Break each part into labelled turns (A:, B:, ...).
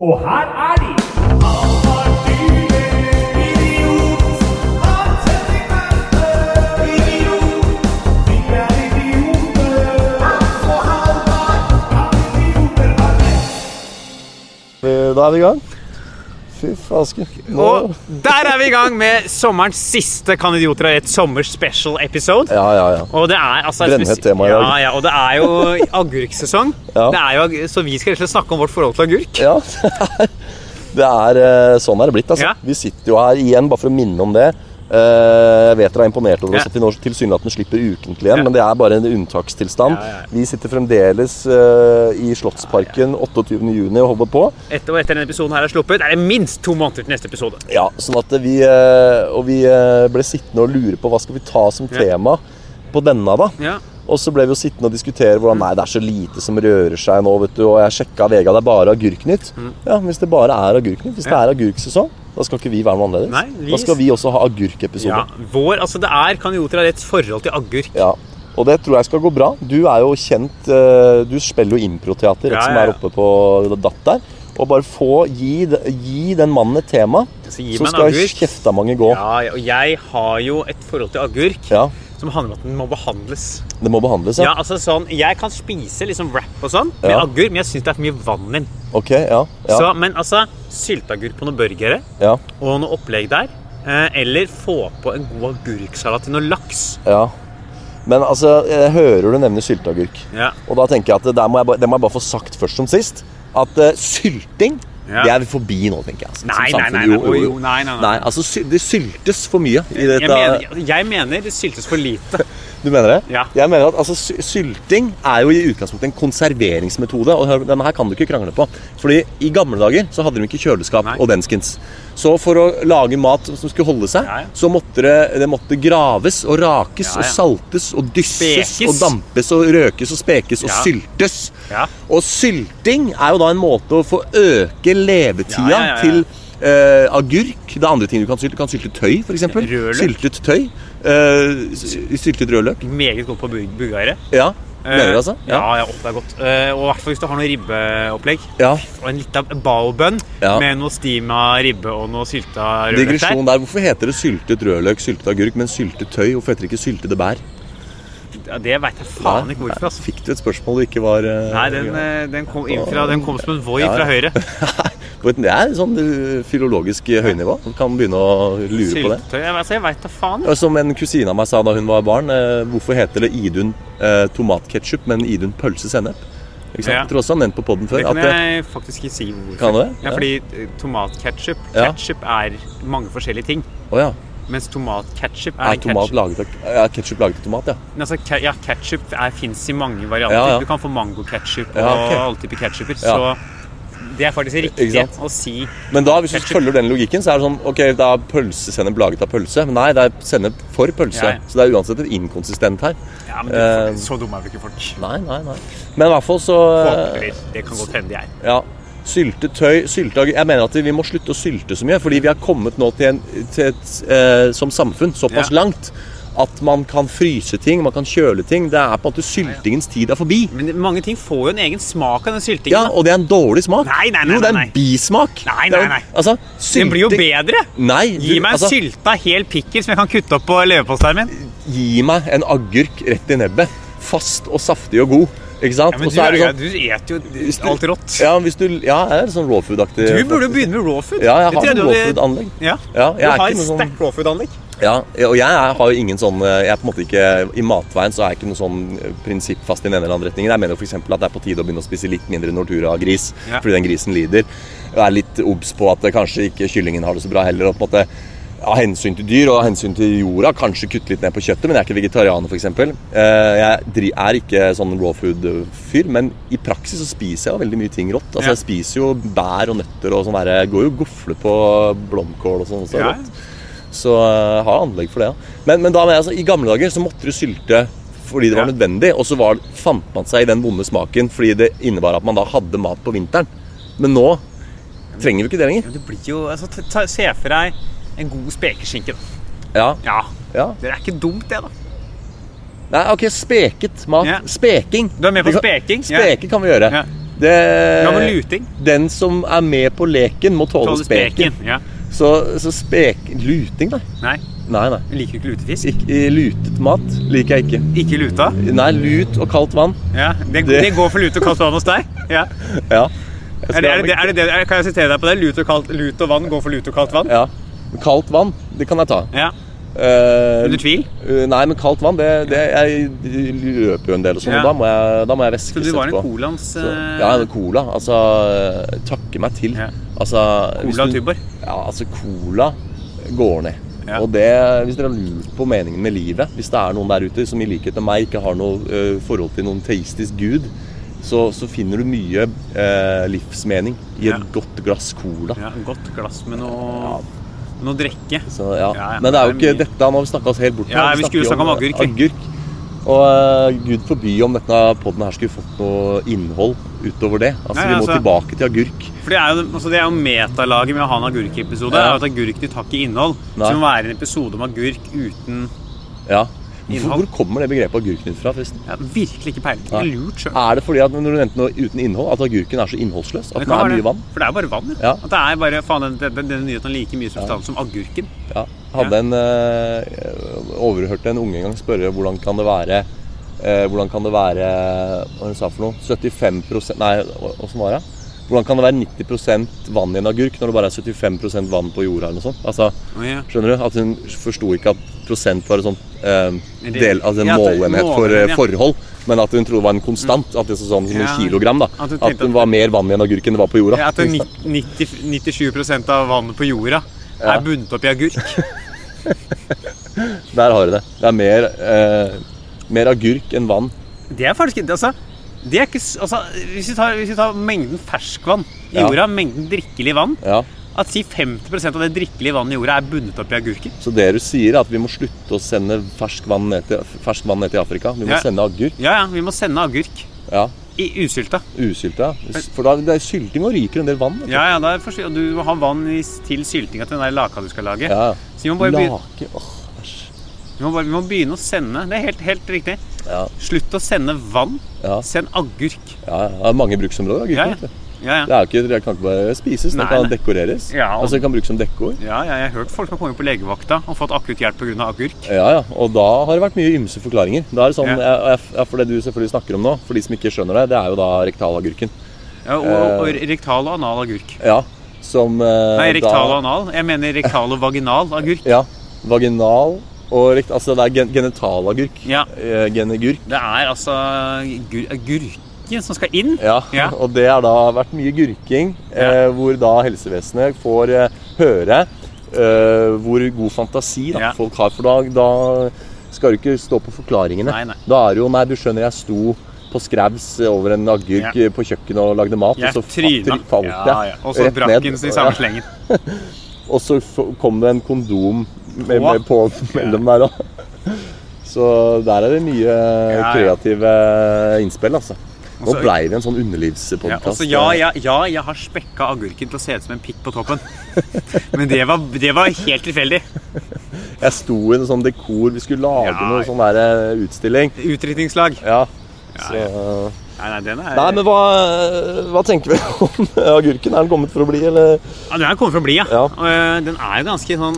A: Og her er de!
B: Eh, Da er vi i gang. Fy faske. Nå
C: Og der er vi i gang med sommerens siste Kan idioter ha et sommerspecial episode.
B: Ja, ja, ja.
C: Og det er altså
B: Brennhett tema i dag.
C: ja, ja, og det er jo agurksesong.
B: Ja.
C: Det er jo, ag- så vi skal rett og slett snakke om vårt forhold til agurk.
B: ja. Det er eh, sånn er det blitt. altså.
C: Ja.
B: Vi sitter jo her igjen, bare for å minne om det. Eh, Jeg vet dere er imponert over oss
C: Ja.
B: at vi nå tilsynelatende slipper ukentlig igjen,
C: Ja.
B: men det er bare en unntakstilstand.
C: Ja, ja, ja.
B: Vi sitter fremdeles eh, i Slottsparken 28.6 og holder på.
C: Etter, og etter denne episoden her er sluppet, er det minst to måneder til neste episode.
B: Ja, sånn at vi eh, Og vi eh, ble sittende og lure på hva skal vi ta som
C: Ja.
B: tema på denne, da.
C: Ja.
B: Og så ble vi jo sittende og diskutere hvordan Nei, det er så lite som rører seg nå, vet du. Og jeg sjekka VG, det er bare Agurknytt. Ja, hvis det bare er Agurknytt, hvis det
C: Mm. Ja.
B: er agurksesong, da skal ikke vi være noe annerledes.
C: Nei, vi-
B: Da skal vi også ha agurkepisode.
C: ja. Vår, altså det er Kan idioter ha et forhold til agurk.
B: Ja. Og det tror jeg skal gå bra. Du er jo kjent eh, Du spiller jo improteater, rett
C: Ja,
B: som
C: ja,
B: er
C: ja.
B: oppe på Datt der. Og bare få Gi, gi den mannen et tema,
C: Så gi
B: så
C: meg en
B: skal
C: agurk.
B: kjeftamange gå.
C: Ja, ja, og jeg har jo et forhold til agurk
B: Ja.
C: som handler om at den må behandles.
B: Det må behandles,
C: Ja,
B: ja.
C: altså sånn, Jeg kan spise liksom wrap og sånn med
B: Ja.
C: agurk, men jeg syns det er for mye vann i den.
B: Ok, ja. Ja.
C: Så, men altså, sylteagurk på noen burgere
B: ja.
C: og noe opplegg der. eh, Eller få på en god agurksalat til noe laks.
B: ja. Men altså, jeg hører du nevner sylteagurk.
C: Ja.
B: Og da tenker jeg at det der må jeg, bare- det må jeg bare få sagt først som sist. At eh, sylting,
C: Ja.
B: det er vi forbi nå, tenker jeg. Altså, som
C: Nei, nei,
B: samfunn.
C: nei,
B: Jo,
C: nei,
B: jo, jo.
C: jo, nei, nei, nei.
B: Nei, altså, sy det syltes for mye i
C: Jeg,
B: dette
C: mener, altså, jeg mener det syltes for lite.
B: Du mener det?
C: Ja.
B: Jeg mener at altså, sy- Sylting er jo i utgangspunktet en konserveringsmetode, og hør, denne her kan du ikke krangle på. Fordi i gamle dager så hadde de ikke kjøleskap
C: Nei.
B: og denskens. Så for å lage mat som skulle holde seg,
C: Ja, ja.
B: så måtte det, det måtte graves og rakes
C: Ja, ja.
B: og saltes og dysses
C: Spekes.
B: og dampes og røkes og spekes og
C: Ja.
B: syltes.
C: Ja.
B: Og sylting er jo da en måte å få øke levetida
C: Ja, ja, ja, ja.
B: til eh, agurk. Det er andre ting du kan sylte. Du kan sylte tøy, f.eks.
C: Rødløk.
B: Syltet tøy. eh, s- syltet rødløk.
C: Meget godt på bur- burgere.
B: Ja.
C: Eh,
B: Mener du altså?
C: Ja, ja, opp, det er godt. Eh, Og i hvert fall hvis du har noe ribbeopplegg.
B: ja.
C: Og en liten baobønn
B: Ja.
C: med noe stima ribbe og noe sylta rødløk der.
B: Digresjon der. Hvorfor heter det syltet rødløk, syltet agurk, men syltet tøy? Hvorfor heter det ikke syltede bær?
C: Ja, det veit jeg faen ikke hvorfor. Altså.
B: Fikk du et spørsmål du ikke var eh,
C: Nei, den, eh, den, kom inn fra, den kom som en voi fra høyre.
B: på et- Det er sånn eh, filologisk høynivå. Du kan begynne å lure på det.
C: Syltetøy Jeg, altså, jeg veit da faen. jeg.
B: Og Som en kusine av meg sa da hun var barn, eh, hvorfor heter det Idun eh, tomatketchup, men Idun pølsesennep? Ikke sant?
C: Ja.
B: Jeg tror også han nevnte på poden før.
C: Det kan
B: at eh, det-
C: jeg faktisk ikke si hvorfor.
B: Kan du det?
C: Ja,
B: Ja.
C: fordi eh, tomatketchup
B: Ja.
C: Ketchup er mange forskjellige ting.
B: Å ja.
C: Mens tomatketchup er,
B: Er
C: en
B: tomat
C: ketchup.
B: laget av ja, ketchup laget av tomat, ja.
C: Men Altså, ke- ja, ketchup fins i mange varianter.
B: Ja, ja.
C: Du kan få mangoketchup
B: Ja, ok.
C: og alle typer ketchuper. Så det er faktisk riktig
B: Ikke sant?
C: å si.
B: Men da, hvis du
C: Ketchup.
B: følger den logikken, så er det sånn Ok, da er pølsesennep laget av pølse. Men nei, det er sennep for pølse.
C: Ja, ja.
B: Så det er uansett et inkonsistent her.
C: Ja, men
B: Eh,
C: du, Så dumme er vel ikke folk.
B: Nei, nei, nei. Men i hvert fall så eh,
C: Håper. Det kan godt hende de er.
B: Ja. Syltetøy, sylteagurk Jeg mener at vi må slutte å sylte så mye. Fordi vi har kommet nå til, en, til et eh, Som samfunn såpass
C: Ja.
B: langt at man kan fryse ting, man kan kjøle ting. Det er på en måte syltingens tid er forbi.
C: Men det- mange ting får jo en egen smak av den syltingen.
B: Ja,
C: da.
B: Og det er en dårlig smak.
C: Nei, nei, nei,
B: jo, det er
C: nei,
B: en
C: nei.
B: bismak.
C: Nei,
B: Det er jo-
C: nei, nei.
B: Altså,
C: Den blir jo
B: sylting-
C: bedre.
B: Nei,
C: Gi
B: du-
C: meg en
B: altså-
C: sylta hel pikker som jeg kan kutte opp på leverposteien min.
B: gi meg en agurk rett i nebbet. Fast og saftig og god. Ikke sant?
C: Ja, men
B: og
C: du,
B: så er det
C: er-
B: sånn
C: du eter jo alt rått.
B: Ja, hvis du, ja jeg er sånn raw food-aktig.
C: Du burde jo begynne med raw food.
B: Ja, jeg
C: Det
B: har sånn
C: trodde du-
B: raw food-anlegg.
C: Ja.
B: Ja,
C: Du
B: jeg er
C: har
B: ikke
C: et
B: noe sånn
C: sterkt raw food-anlegg.
B: Ja, og jeg er, har jo ingen sånn eh, Jeg er på en måte ikke I matveien så er jeg ikke noe sånn eh, prinsippfast i den ene eller andre retningen. Jeg mener jo f.eks. at det er på tide å begynne å spise litt mindre Nortura-gris
C: Ja.
B: fordi den grisen lider. Være litt obs på at eh, kanskje ikke kyllingen har det så bra heller. og på en måte av hensyn til dyr og av hensyn til jorda, kanskje kutte litt ned på kjøttet, men jeg er ikke vegetarianer f.eks. Jeg dri- er ikke sånn raw food-fyr, men i praksis så spiser jeg jo veldig mye ting rått. Altså
C: Ja.
B: Jeg spiser jo bær og nøtter og sånn der. Jeg går jo og gofler på blomkål og sånn også.
C: Ja.
B: rått. Så eh, har jeg anlegg for det, ja. Men, men da, mener jeg, altså, i gamle dager så måtte du sylte fordi det var
C: Ja.
B: nødvendig, og så var, fant man seg i den vonde smaken fordi det innebar at man da hadde mat på vinteren. Men nå trenger vi ikke det lenger.
C: Men det blir jo altså, ta, ta, Se for deg en god spekeskinke, da.
B: Ja,
C: Ja.
B: ja.
C: Det er ikke dumt, det, da.
B: Nei, ok, speket mat.
C: Ja.
B: Speking.
C: Du er med
B: Vi
C: på
B: kan-
C: speking? Ja.
B: Speke kan vi gjøre.
C: Ja.
B: Det,
C: Ja, men luting.
B: den som er med på leken, må tåle,
C: Tåle
B: speken.
C: speken. Ja.
B: Så, så spek... Luting, nei.
C: Nei,
B: Nei, nei.
C: jeg liker ikke lutefisk.
B: Ik lutet mat liker jeg ikke.
C: Ikke luta.
B: Nei, lut og kaldt vann.
C: Ja, det,
B: Det-
C: det går for lute og kaldt vann hos deg. Ja.
B: Ja. Jeg
C: Er
B: skal
C: det, er
B: ha
C: det,
B: meg-
C: er det, er det, kan jeg sitere deg på det? Lut og, kaldt, lut og vann går for lut og kaldt vann?
B: Ja. Kaldt vann, det kan jeg ta.
C: Ja.
B: Eh,
C: Under tvil?
B: eh, nei, men kaldt vann, det, det Jeg løper jo en del og sånn,
C: Ja.
B: og da må jeg, da må jeg væskes
C: Så du var en eh,
B: etterpå.
C: colans
B: Så- Ja, en cola. Altså, eh, takke meg til.
C: Ja.
B: Altså, hvis
C: Cola
B: du-
C: Tuborg.
B: Ja, altså, cola går ned.
C: Ja.
B: Og det, hvis dere har lurt på meningen med livet, hvis det er noen der ute som i likhet med meg ikke har noe eh, forhold til noen teistisk gud, så, så finner du mye eh, livsmening i et
C: Ja.
B: godt glass cola.
C: Ja, godt glass med noe, med noe drikke.
B: Så, ja.
C: Ja, ja,
B: Men det er jo
C: det er
B: ikke
C: mye.
B: dette. Nå har vi snakka oss helt bort.
C: Ja,
B: her.
C: vi
B: snakker
C: skulle
B: eh,
C: snakke om agurk, vi.
B: agurk. Og eh, gud forby om denne podden her skulle fått noe innhold utover det. Altså,
C: Nei,
B: Vi må
C: altså-
B: tilbake til agurk.
C: For det er jo, altså det er jo metalaget med å ha en agurkepisode.
B: Ja.
C: er jo At agurknytt har ikke innhold. Så
B: Nei.
C: det må være en episode om agurk uten
B: Ja. Hvor,
C: Innhold.
B: hvor kommer det begrepet agurknytt fra, forresten?
C: ja, Virkelig ikke peiling. Det
B: Nei.
C: er lurt sjøl.
B: Er det fordi at når du nevnte noe uten innhold, at agurken er så innholdsløs? At
C: Det
B: den er
C: kan være det.
B: mye vann?
C: For det er jo bare vann.
B: Ja.
C: At det er bare, faen, den, den, den nyheten har like mye substans som agurken.
B: Ja. Jeg hadde en eh, overhørte en unge en gang spørre hvordan kan det være eh, Hvordan kan det være Hva hun sa for noe? 75 Nei, hva- åssen var det? Hvordan kan det være 90 vann i en agurk når det bare er 75 vann på jorda? eller noe sånt? Altså,
C: Å, ja.
B: skjønner du? At hun forsto ikke at prosent var en sånn eh,
C: Det-
B: del, altså en
C: ja, at det-
B: målenhet for
C: målenhet,
B: eh,
C: ja.
B: forhold, men at hun trodde det var en konstant. At det så sånn som
C: Ja.
B: noen kilogram. da.
C: At hun tenkte
B: At
C: at-
B: hun var mer vann i en agurk enn det var på jorda.
C: Ja, At det er nitt- 90, 97 av vannet på jorda
B: Ja.
C: er bundet opp i agurk.
B: Der har du det. Det er mer, eh, mer agurk enn vann.
C: Det er faktisk altså, det er ikke, s- altså, hvis, vi tar, hvis vi tar mengden ferskvann i
B: Ja.
C: jorda, mengden drikkelig vann
B: Ja.
C: At si 50 av det drikkelige vannet i jorda er bundet opp i agurker.
B: Så det du sier, er at vi må slutte å sende fersk vann ned til, fersk vann ned til Afrika. Vi må
C: Ja.
B: sende agurk.
C: Ja, ja, vi må sende agurk.
B: Ja.
C: I usylta.
B: Usylta. For da det er sylting og ryker en del vann. vet du.
C: Ja, ja, da er forsy- og du må ha vann i, til syltinga til den der laka du skal lage.
B: Ja.
C: Så vi må, bare begynne,
B: Lake Åh, æsj.
C: vi, må bare, vi må begynne å sende. Det er helt, helt riktig.
B: Ja.
C: Slutt å sende vann.
B: Ja.
C: Send agurk.
B: ja. Det er mange bruksområder.
C: Ja,
B: Agurken.
C: ja.
B: vet du.
C: Ja,
B: Det
C: ja.
B: er jo ikke, det kan ikke bare spises,
C: Nei,
B: det kan
C: nei.
B: dekoreres.
C: Ja, og-
B: Altså, det kan brukes som dekkoord.
C: Ja, ja, jeg har hørt folk som har kommet på legevakta og fått akutt hjelp pga. agurk.
B: Ja, ja. Og da har det vært mye ymse forklaringer. Da er det sånn,
C: Ja.
B: ja. Ja, For det du selvfølgelig snakker om nå, for de som ikke skjønner det, det er jo da rektalagurken.
C: Ja, og, og
B: Eh.
C: rektal og anal agurk.
B: Ja, som eh,
C: Nei, rektal og
B: da,
C: anal. Jeg mener rektal og vaginal agurk.
B: Ja, vaginal og rekt... Altså det er gen genitalagurk.
C: Ja.
B: Eh, genegurk.
C: Det er altså gur- agurken som skal inn.
B: Ja.
C: Ja.
B: og det har da vært mye gurking, eh,
C: Ja.
B: hvor da helsevesenet får eh, høre eh, hvor god fantasi da,
C: Ja.
B: folk har. For da, da skal du ikke stå på forklaringene.
C: Nei, nei.
B: Da er det jo Nei, du skjønner, jeg sto på skrevs over en agurk
C: Ja.
B: eh, på kjøkkenet og lagde mat,
C: Jeg
B: og så
C: tryna.
B: fa- falt jeg
C: Ja, ja. Og så
B: rett
C: brakk
B: ned.
C: den i
B: Ja.
C: samme slengen.
B: Og så f- kom det en kondom med,
C: På.
B: med på mellom der òg. Så der er det mye
C: ja.
B: kreative innspill, altså. Nå
C: Også-
B: blei vi en sånn
C: Ja,
B: underlivspodkast.
C: altså, ja, ja, ja, jeg har spekka agurken til å se ut som en pikk på toppen. Men det var, det var helt tilfeldig.
B: Jeg sto i en sånn dekor, vi skulle lage
C: Ja.
B: noe sånn der eh, utstilling.
C: Utdrikningslag.
B: Ja.
C: Ja,
B: Så, eh,
C: Nei, nei, den er
B: Nei, men hva, hva tenker vi om agurken? Er den kommet for å bli, eller?
C: ja, Den er kommet for å bli, ja.
B: Ja.
C: Og, eh, Den er jo ganske sånn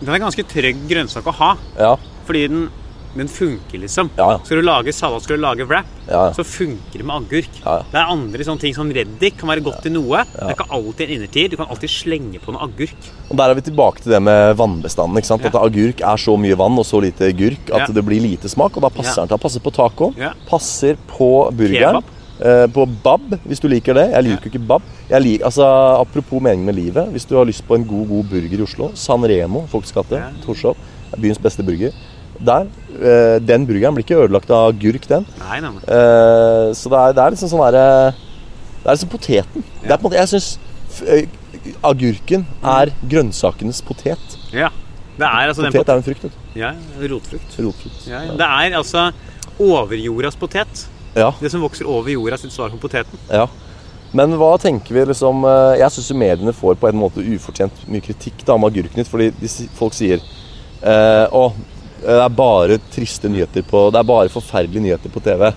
C: Den er ganske trygg grønnsak å ha.
B: Ja.
C: Fordi den, den funker, liksom.
B: Ja, ja.
C: Skal du lage salat, skal du lage wrap,
B: Ja, ja.
C: så funker det med agurk.
B: Ja, ja.
C: Det er andre sånne ting som reddik kan være godt til noe. Det er ikke alltid en innertid. Du kan alltid slenge på noe agurk.
B: Og Der er vi tilbake til det med vannbestanden. ikke sant?
C: Ja.
B: At agurk er så mye vann og så lite gurk at
C: Ja.
B: det blir lite smak. Og da passer
C: Ja.
B: den til. Passer på taco,
C: Ja.
B: passer på burgeren.
C: Kebab.
B: eh, På bab, hvis du liker det. Jeg liker jo ikke bab. Jeg lik, altså, apropos meningen med livet. Hvis du har lyst på en god god burger i Oslo, San Remo, Folks gate,
C: Ja.
B: Torshov, er byens beste burger. Der, eh, Den burgeren blir ikke ødelagt av agurk, den.
C: Nei, nei, nei.
B: Eh, så det er, det er liksom sånn derre Det er liksom poteten. Det er på en måte, jeg syns agurken er grønnsakenes potet.
C: Ja. Det er altså Mm. den
B: Potet er en frukt. vet
C: pot- Ja, rotfrukt.
B: du. Rotfrukt.
C: Ja, ja. Det er altså overjordas potet.
B: Ja,
C: Det som vokser over jorda sitt svar på poteten.
B: ja. Men hva tenker vi liksom eh, Jeg syns mediene får på en måte ufortjent mye kritikk da om Agurknytt, fordi de, si- folk sier eh, Å, det er bare triste nyheter på Det er bare forferdelige nyheter på TV,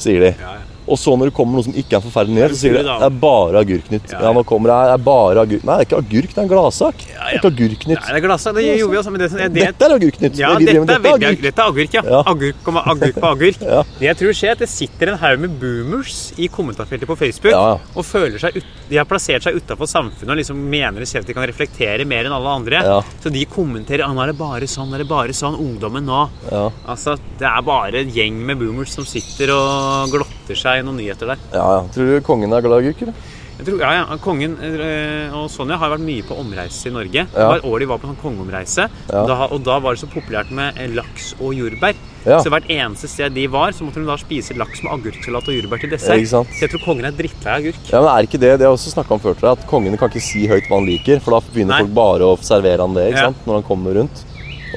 B: sier de.
C: Ja, ja.
B: Og så når det kommer noe som ikke er en forferdelig nyhet, så sier de
C: sur, da?
B: det er bare agurknytt.
C: Ja,
B: Ja, nå kommer det her, det er bare agurk... Nei, det er ikke agurk, det er en gladsak. Det er ikke agurknytt.
C: Nei, det er glasset, det gjorde vi også, men det, som- det,
B: Dette er agurknytt.
C: ja,
B: det vi
C: dette
B: driver
C: er,
B: med, dette er
C: veldig-
B: agurk.
C: dette er agurk, ja.
B: Ja.
C: Agurk, komma, agurk på agurk.
B: Ja.
C: Det jeg tror skjer, er at det sitter en haug med boomers i kommentarfeltet på Facebook
B: Ja.
C: og føler seg ut, de har plassert seg utafor samfunnet og liksom mener de selv at de kan reflektere mer enn alle andre.
B: Ja.
C: Så de kommenterer at nå er det bare sånn, nå er det bare sånn, ungdommen nå.
B: Ja,
C: Altså, Det er bare en gjeng med boomers som sitter og glotter seg i noen nyheter der.
B: ja, ja. Tror du kongen er glad i agurk, eller?
C: Jeg tror, ja, ja, Kongen eh, og Sonja har vært mye på omreise i Norge. Det
B: Ja.
C: var et år de var på sånn kongeomreise.
B: Ja.
C: Da, og da var det så populært med eh, laks og jordbær.
B: Ja.
C: Så hvert eneste sted de var, så måtte de da spise laks med agurksalat og jordbær til
B: Ja,
C: dessert.
B: ikke sant?
C: Så jeg tror kongen er drittlei av agurk.
B: Ja, men er ikke det det jeg også snakket om før til deg, at kongene kan ikke si høyt hva han liker, for da begynner
C: Nei.
B: folk bare å servere han det, ikke
C: Ja.
B: sant, når han kommer rundt,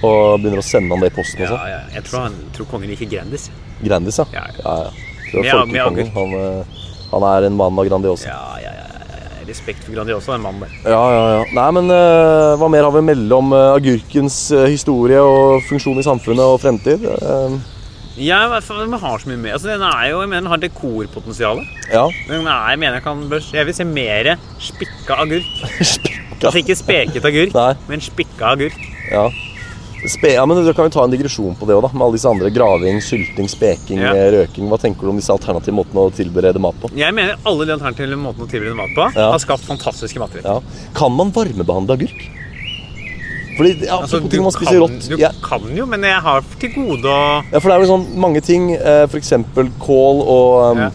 B: og begynner å sende han det i posten og
C: Ja,
B: sånn.
C: ja, jeg tror, han, tror kongen liker Grandis.
B: Grandis, ja.
C: Ja, ja.
B: ja, ja. Det var
C: Med- med
B: folkekongen. Han, eh, han er en mann av Grandiosa.
C: Ja, ja, ja, ja, ja. Respekt for Grandiosa, den mannen der.
B: Ja, ja, ja. Nei, men eh, hva mer har vi å melde om eh, agurkens eh, historie og funksjon i samfunnet og fremtid? Eh,
C: Ja, i hvert fall, den har så mye mer. Altså, den er jo, jeg mener, den har dekorpotensial.
B: ja.
C: Den er, jeg mener, jeg, kan, jeg vil se mer spikka agurk.
B: Spikka.
C: Altså ikke speket agurk,
B: Nei.
C: men spikka agurk.
B: Ja. Spe ja, men Da kan vi ta en digresjon på det òg, da. Med alle disse andre. Graving, sylting, speking,
C: Ja.
B: eh, røking. Hva tenker du om disse alternative måtene å tilberede mat på?
C: Jeg mener alle de alternative måtene å tilberede mat på
B: Ja.
C: har skapt fantastiske matretter.
B: Ja. Kan man varmebehandle agurk? Fordi ja,
C: Altså,
B: apropos
C: du,
B: ting man
C: kan,
B: spiser rått
C: du
B: ja.
C: kan jo, men jeg har til gode å
B: Ja, for det er jo sånn mange ting, eh, for eksempel kål og um,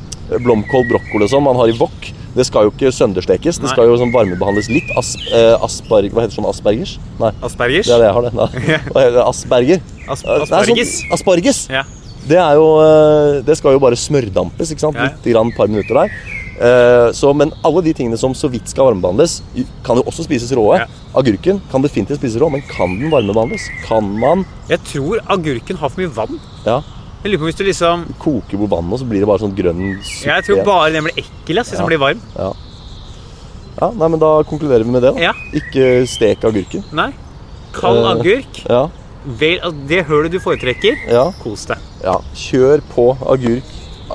B: blomkål, brokkoli og sånn, man har i wok. Det skal jo ikke sønderstekes, det
C: Nei.
B: skal jo sånn varmebehandles litt. As, eh, asparg... Hva heter sånn aspergers? Nei,
C: Aspergers?
B: det er det jeg har, det. Nei. Hva heter det? Asperger?
C: As-
B: Eh, nei,
C: asparges?
B: Sånn, asparges!
C: Ja.
B: Det er jo eh, Det skal jo bare smørdampes, ikke sant?
C: Ja, ja.
B: Litt grann, par minutter der. Eh, Så, men alle de tingene som så vidt skal varmebehandles, i- kan jo også spises råe.
C: Ja.
B: Agurken kan definitivt spises rå, men kan den varmebehandles? Kan man
C: Jeg tror agurken har for mye vann.
B: Ja.
C: Jeg lurer på hvis du liksom
B: koke på vannet, og så blir det bare sånn grønn suppe
C: Jeg tror
B: igjen.
C: bare den blir ekkel ass,
B: Ja.
C: hvis den blir varm.
B: Ja. ja, nei, men da konkluderer vi med det. da
C: Ja.
B: Ikke stek agurken.
C: Nei. Kald
B: Eh.
C: agurk.
B: Ja,
C: Vel, altså, det hølet du foretrekker,
B: ja,
C: kos deg.
B: ja. Kjør på agurk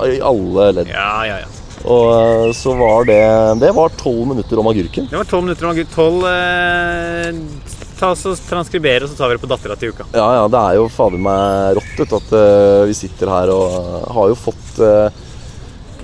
B: i alle ledd.
C: Ja, ja, ja.
B: Og eh, så var det Det var tolv minutter om agurken.
C: Det var tolv minutter om agurk. Tolv eh, Ta oss og transkribere, og så tar vi det på dattera til uka.
B: Ja, ja, det er jo fader meg rått vet du, at eh, vi sitter her og eh, har jo fått eh,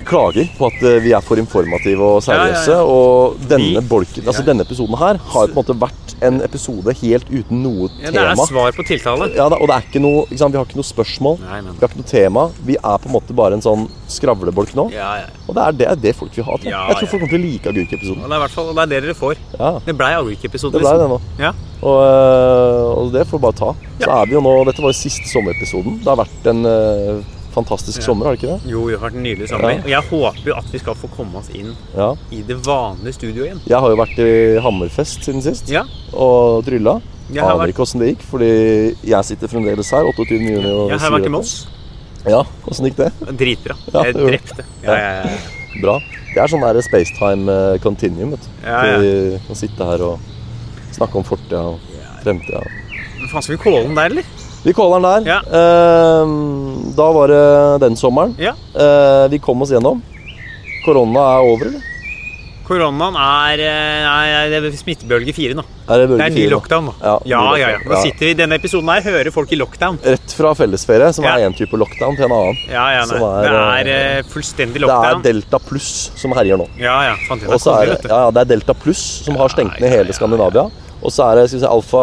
B: klager på at eh, vi er for informative og
C: Ja, ja, ja.
B: seriøse. Og denne
C: Vi-
B: bolken, altså denne episoden her har jo på en måte vært en episode helt uten noe
C: Ja, det er
B: tema.
C: svar på tiltale.
B: Ja, da, og det er ikke noe, ikke sant? Vi har ikke noe spørsmål.
C: Nei, nei, nei.
B: Vi har ikke noe tema. Vi er på en måte bare en sånn skravlebolk nå.
C: Ja, ja.
B: Og det er det, det folk vil ha. Tror. jeg.
C: Ja,
B: jeg tror
C: ja.
B: folk kommer til å like agurkeepisoden.
C: Og det er i hvert fall og det er det dere får.
B: Ja,
C: Det blei agurkepisode.
B: det ble det nå.
C: liksom. Ja.
B: Og, øh, og det får vi bare ta. Så er vi jo nå, Dette var jo siste sommerepisoden. Det har vært en øh, fantastisk sommer, har det ikke det?
C: Jo, det har vært en nydelig sommer.
B: Ja.
C: Og jeg håper jo at vi skal få komme oss inn
B: Ja.
C: i det vanlige studioet igjen.
B: Jeg har jo vært i Hammerfest siden sist
C: Ja.
B: og trylla.
C: Jeg har
B: Aner
C: vært,
B: ikke åssen det gikk, fordi jeg sitter fremdeles her. 28. juni og sier
C: jeg har vært
B: dette.
C: i Moss.
B: Ja, åssen gikk det?
C: Dritbra.
B: Ja,
C: Jeg
B: det gjorde
C: drepte. Ja, ja, ja.
B: Bra. Det er sånn der spacetime eh, continuum. vet du.
C: Ja, ja.
B: Vi kan sitte her og snakke om fortida og fremtida.
C: Men faen, skal vi kåle den der, eller?
B: Vi caller den der.
C: Ja.
B: Ehm, Da var det den sommeren.
C: Ja.
B: Eh, Vi kom oss gjennom. Korona er over, eller?
C: Koronaen er eh, Nei, det er smittebølge fire nå.
B: Er det,
C: Det er ny
B: fire nå?
C: lockdown nå.
B: Ja, ny
C: Ja, ja, ja.
B: lockdown.
C: Nå sitter vi i denne episoden her, hører folk i lockdown.
B: Rett fra fellesferie, som er
C: Ja.
B: én type lockdown, til en annen.
C: Ja, ja, nei.
B: Som
C: Det
B: er,
C: er eh, fullstendig
B: Det er
C: lockdown.
B: Delta pluss som herjer nå.
C: Ja, ja. Fant jeg
B: Og
C: det.
B: så er
C: Kongen,
B: det,
C: vet du.
B: ja, ja, det er Delta pluss som har stengt
C: Ja,
B: ned
C: ja,
B: hele
C: ja,
B: Skandinavia. Og så er det skal vi si, Alfa,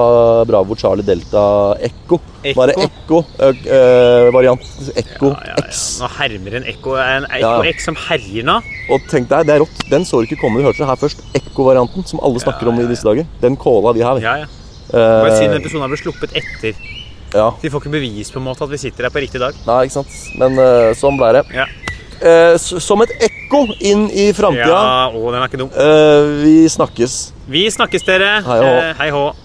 B: Bravo, Charlie, Delta, Ekko. Nå er det Ekko-varianten. Ekko
C: Ja, ja, ja.
B: X.
C: Nå hermer en ekko en
B: Ja.
C: ekko-X som herjer nå.
B: Og tenk deg, det er rått. Den så du ikke komme. Du hørte det her først. Ekko-varianten, som alle snakker om i disse dager. Den kåla vi her. vi.
C: Ja, ja.
B: Eh,
C: Bare siden episoden har blitt sluppet etter.
B: ja.
C: De får ikke bevis på en måte at vi sitter her på riktig dag.
B: Nei, ikke sant. Men eh, sånn ble det.
C: Ja,
B: Eh, s- som et ekko inn i framtida.
C: ja å, den er ikke dum.
B: Eh, vi snakkes.
C: Vi snakkes, dere.
B: Hei og hå.
C: Eh, Hei hå.